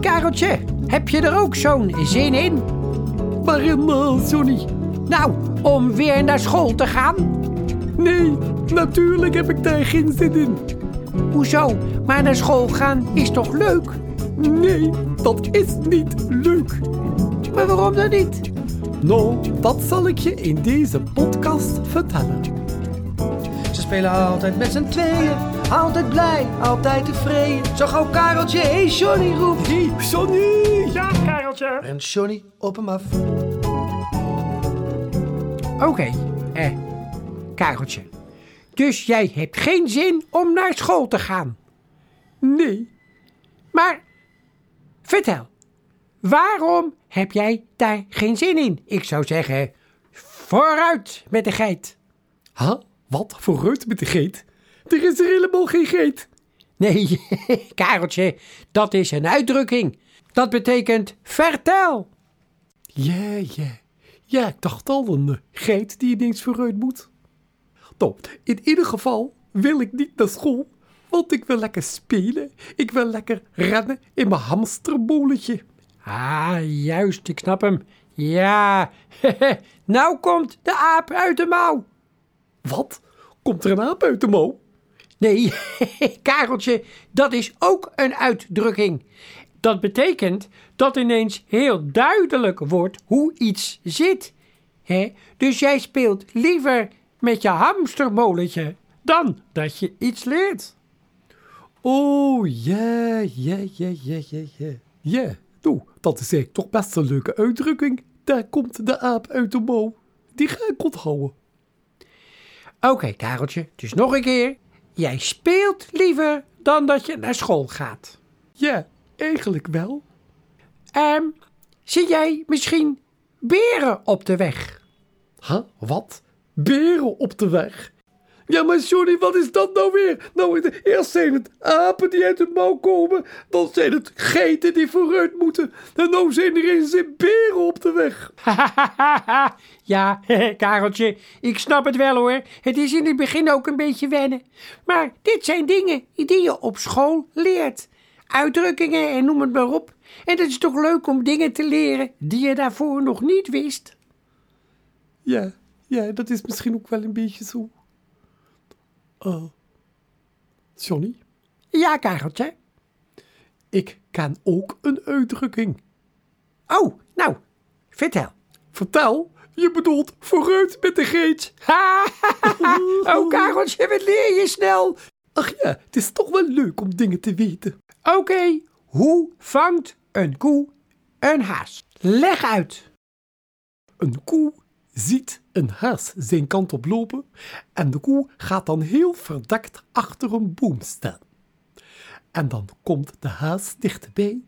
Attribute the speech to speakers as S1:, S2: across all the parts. S1: Kareltje, heb je er ook zo'n zin in? Waarom, Sonny? Nou, om weer naar school te gaan? Nee, natuurlijk heb ik daar geen zin in. Hoezo? Maar naar school gaan is toch leuk? Nee, dat is niet leuk. Maar waarom dan niet? Nou, dat zal ik je in deze podcast vertellen.
S2: Ze spelen altijd met z'n tweeën. Altijd blij, altijd tevreden. Zo gauw Kareltje, hé hey Johnny, roept hij.
S1: Sonny!
S3: Ja, Kareltje.
S2: En Johnny op hem af.
S1: Oké, eh, Kareltje. Dus jij hebt geen zin om naar school te gaan? Nee. Maar, vertel, waarom heb jij daar geen zin in? Ik zou zeggen, vooruit met de geit. Huh? Wat? Vooruit met de geit? Er is er helemaal geen geit. Nee, Kareltje, dat is een uitdrukking. Dat betekent vertel. Ja, ja. Ja, ik dacht al een geit die ineens vooruit moet. Nou, in ieder geval wil ik niet naar school. Want ik wil lekker spelen. Ik wil lekker rennen in mijn hamsterbolletje. Ah, juist, ik snap hem. Ja, nou komt de aap uit de mouw. Wat? Komt er een aap uit de mouw? Nee, Kareltje, dat is ook een uitdrukking. Dat betekent dat ineens heel duidelijk wordt hoe iets zit. hè? Dus jij speelt liever met je hamstermolletje dan dat je iets leert.
S4: Oh, ja, ja, ja, ja, ja, ja. Ja, nou, dat is eigenlijk toch best een leuke uitdrukking. Daar komt de aap uit de mouw. Die ga ik onthouden.
S1: Oké, Kareltje, dus nog een keer. Jij speelt liever dan dat je naar school gaat.
S4: Ja, eigenlijk wel.
S1: Ehm, zie jij misschien beren op de weg?
S4: Ha, wat? Beren op de weg? Ja, maar Johnny, wat is dat nou weer? Nou, eerst zijn het apen die uit de mouw komen. Dan zijn het geiten die vooruit moeten. En nou zijn er eens in beren op de weg.
S1: ja, Kareltje, ik snap het wel hoor. Het is in het begin ook een beetje wennen. Maar dit zijn dingen die je op school leert. Uitdrukkingen en noem het maar op. En het is toch leuk om dingen te leren die je daarvoor nog niet wist.
S4: Ja, ja, dat is misschien ook wel een beetje zo. Eh, Johnny,
S1: Ja, Kareltje.
S4: ik kan ook een uitdrukking.
S1: Oh, nou, vertel.
S4: Vertel, je bedoelt vooruit met de geet.
S1: Ha, oh, Kareltje, wat leer je snel?
S4: Ach ja, het is toch wel leuk om dingen te weten.
S1: Oké, hoe vangt een koe een haas? Leg uit.
S4: Een koe ziet een haas zijn kant op lopen en de koe gaat dan heel verdekt achter een boom staan. En dan komt de haas dichterbij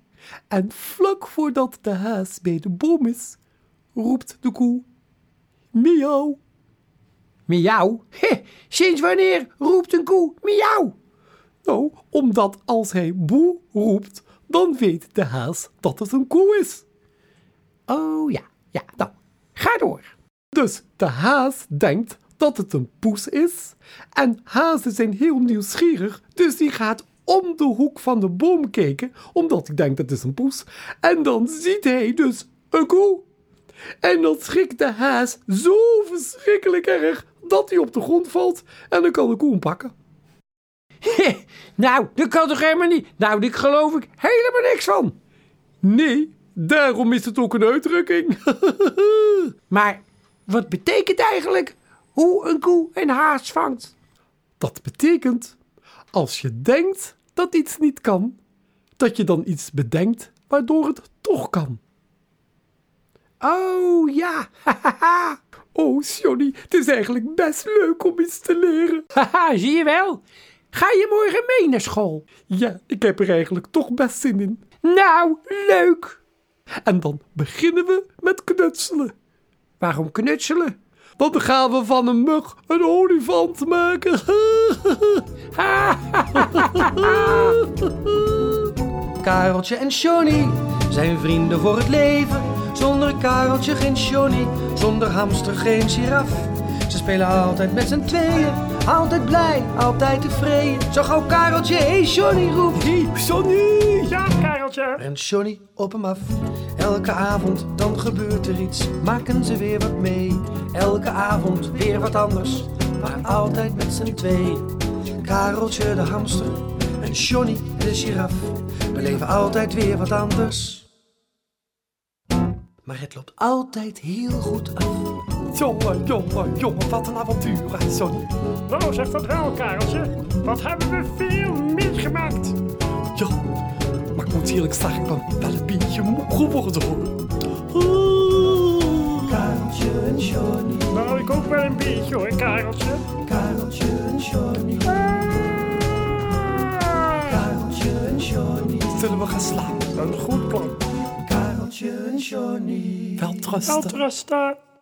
S4: en vlak voordat de haas bij de boom is, roept de koe miauw.
S1: Miauw? Heh, Sinds wanneer roept een koe miauw?
S4: Nou, omdat als hij boe roept, dan weet de haas dat het een koe is.
S1: Oh ja, ja, nou, ga door.
S4: Dus de haas denkt dat het een poes is. En hazen zijn heel nieuwsgierig, dus die gaat om de hoek van de boom kijken, omdat hij denkt dat het een poes. En dan ziet hij dus een koe. En dan schrikt de haas zo verschrikkelijk erg dat hij op de grond valt en dan kan de koe hem pakken.
S1: Heh, nou, dat kan toch helemaal niet? Nou, daar geloof ik helemaal niks van.
S4: Nee, daarom is het ook een uitdrukking.
S1: Maar wat betekent eigenlijk hoe een koe een haas vangt?
S4: Dat betekent, als je denkt dat iets niet kan, dat je dan iets bedenkt waardoor het toch kan.
S1: Oh ja, hahaha.
S4: Oh, Johnny, het is eigenlijk best leuk om iets te leren.
S1: Haha, zie je wel? Ga je morgen mee naar school?
S4: Ja, ik heb er eigenlijk toch best zin in.
S1: Nou, leuk.
S4: En dan beginnen we met knutselen.
S1: Waarom knutselen?
S4: Dan gaan we van een mug een olifant maken.
S2: Kareltje en Johnny zijn vrienden voor het leven. Zonder Kareltje geen Johnny, zonder hamster geen giraf. Ze spelen altijd met z'n tweeën, Altijd blij, altijd tevreden. Zo gauw Kareltje, hey Johnny roept.
S4: Hey, Johnny!
S3: Ja, Kareltje.
S2: En Johnny op hem af. Elke avond, dan gebeurt er iets. Maken ze weer wat mee. Elke avond weer wat anders. Maar altijd met z'n twee. Kareltje de hamster en Johnny de giraf. Beleven altijd weer wat anders. Maar het loopt altijd heel goed af.
S4: Jongen, jongen, jongen, wat een avontuur, hè, Johnny.
S3: Nou, zeg dat wel, Kareltje. Wat hebben we veel meegemaakt.
S4: Ja, maar ik moet eerlijk zeggen, ik ben wel een beetje moe geworden, hoor. Ah.
S2: Kareltje en Johnny,
S3: Nou, ik ook wel een beetje hoor, Kareltje.
S2: Kareltje en Johnny,
S3: Ah,
S2: Kareltje en Johnny,
S4: Zullen we gaan slapen?
S3: een goed plan.
S2: Kareltje en Johnny.
S4: Welterusten.
S3: Welterusten.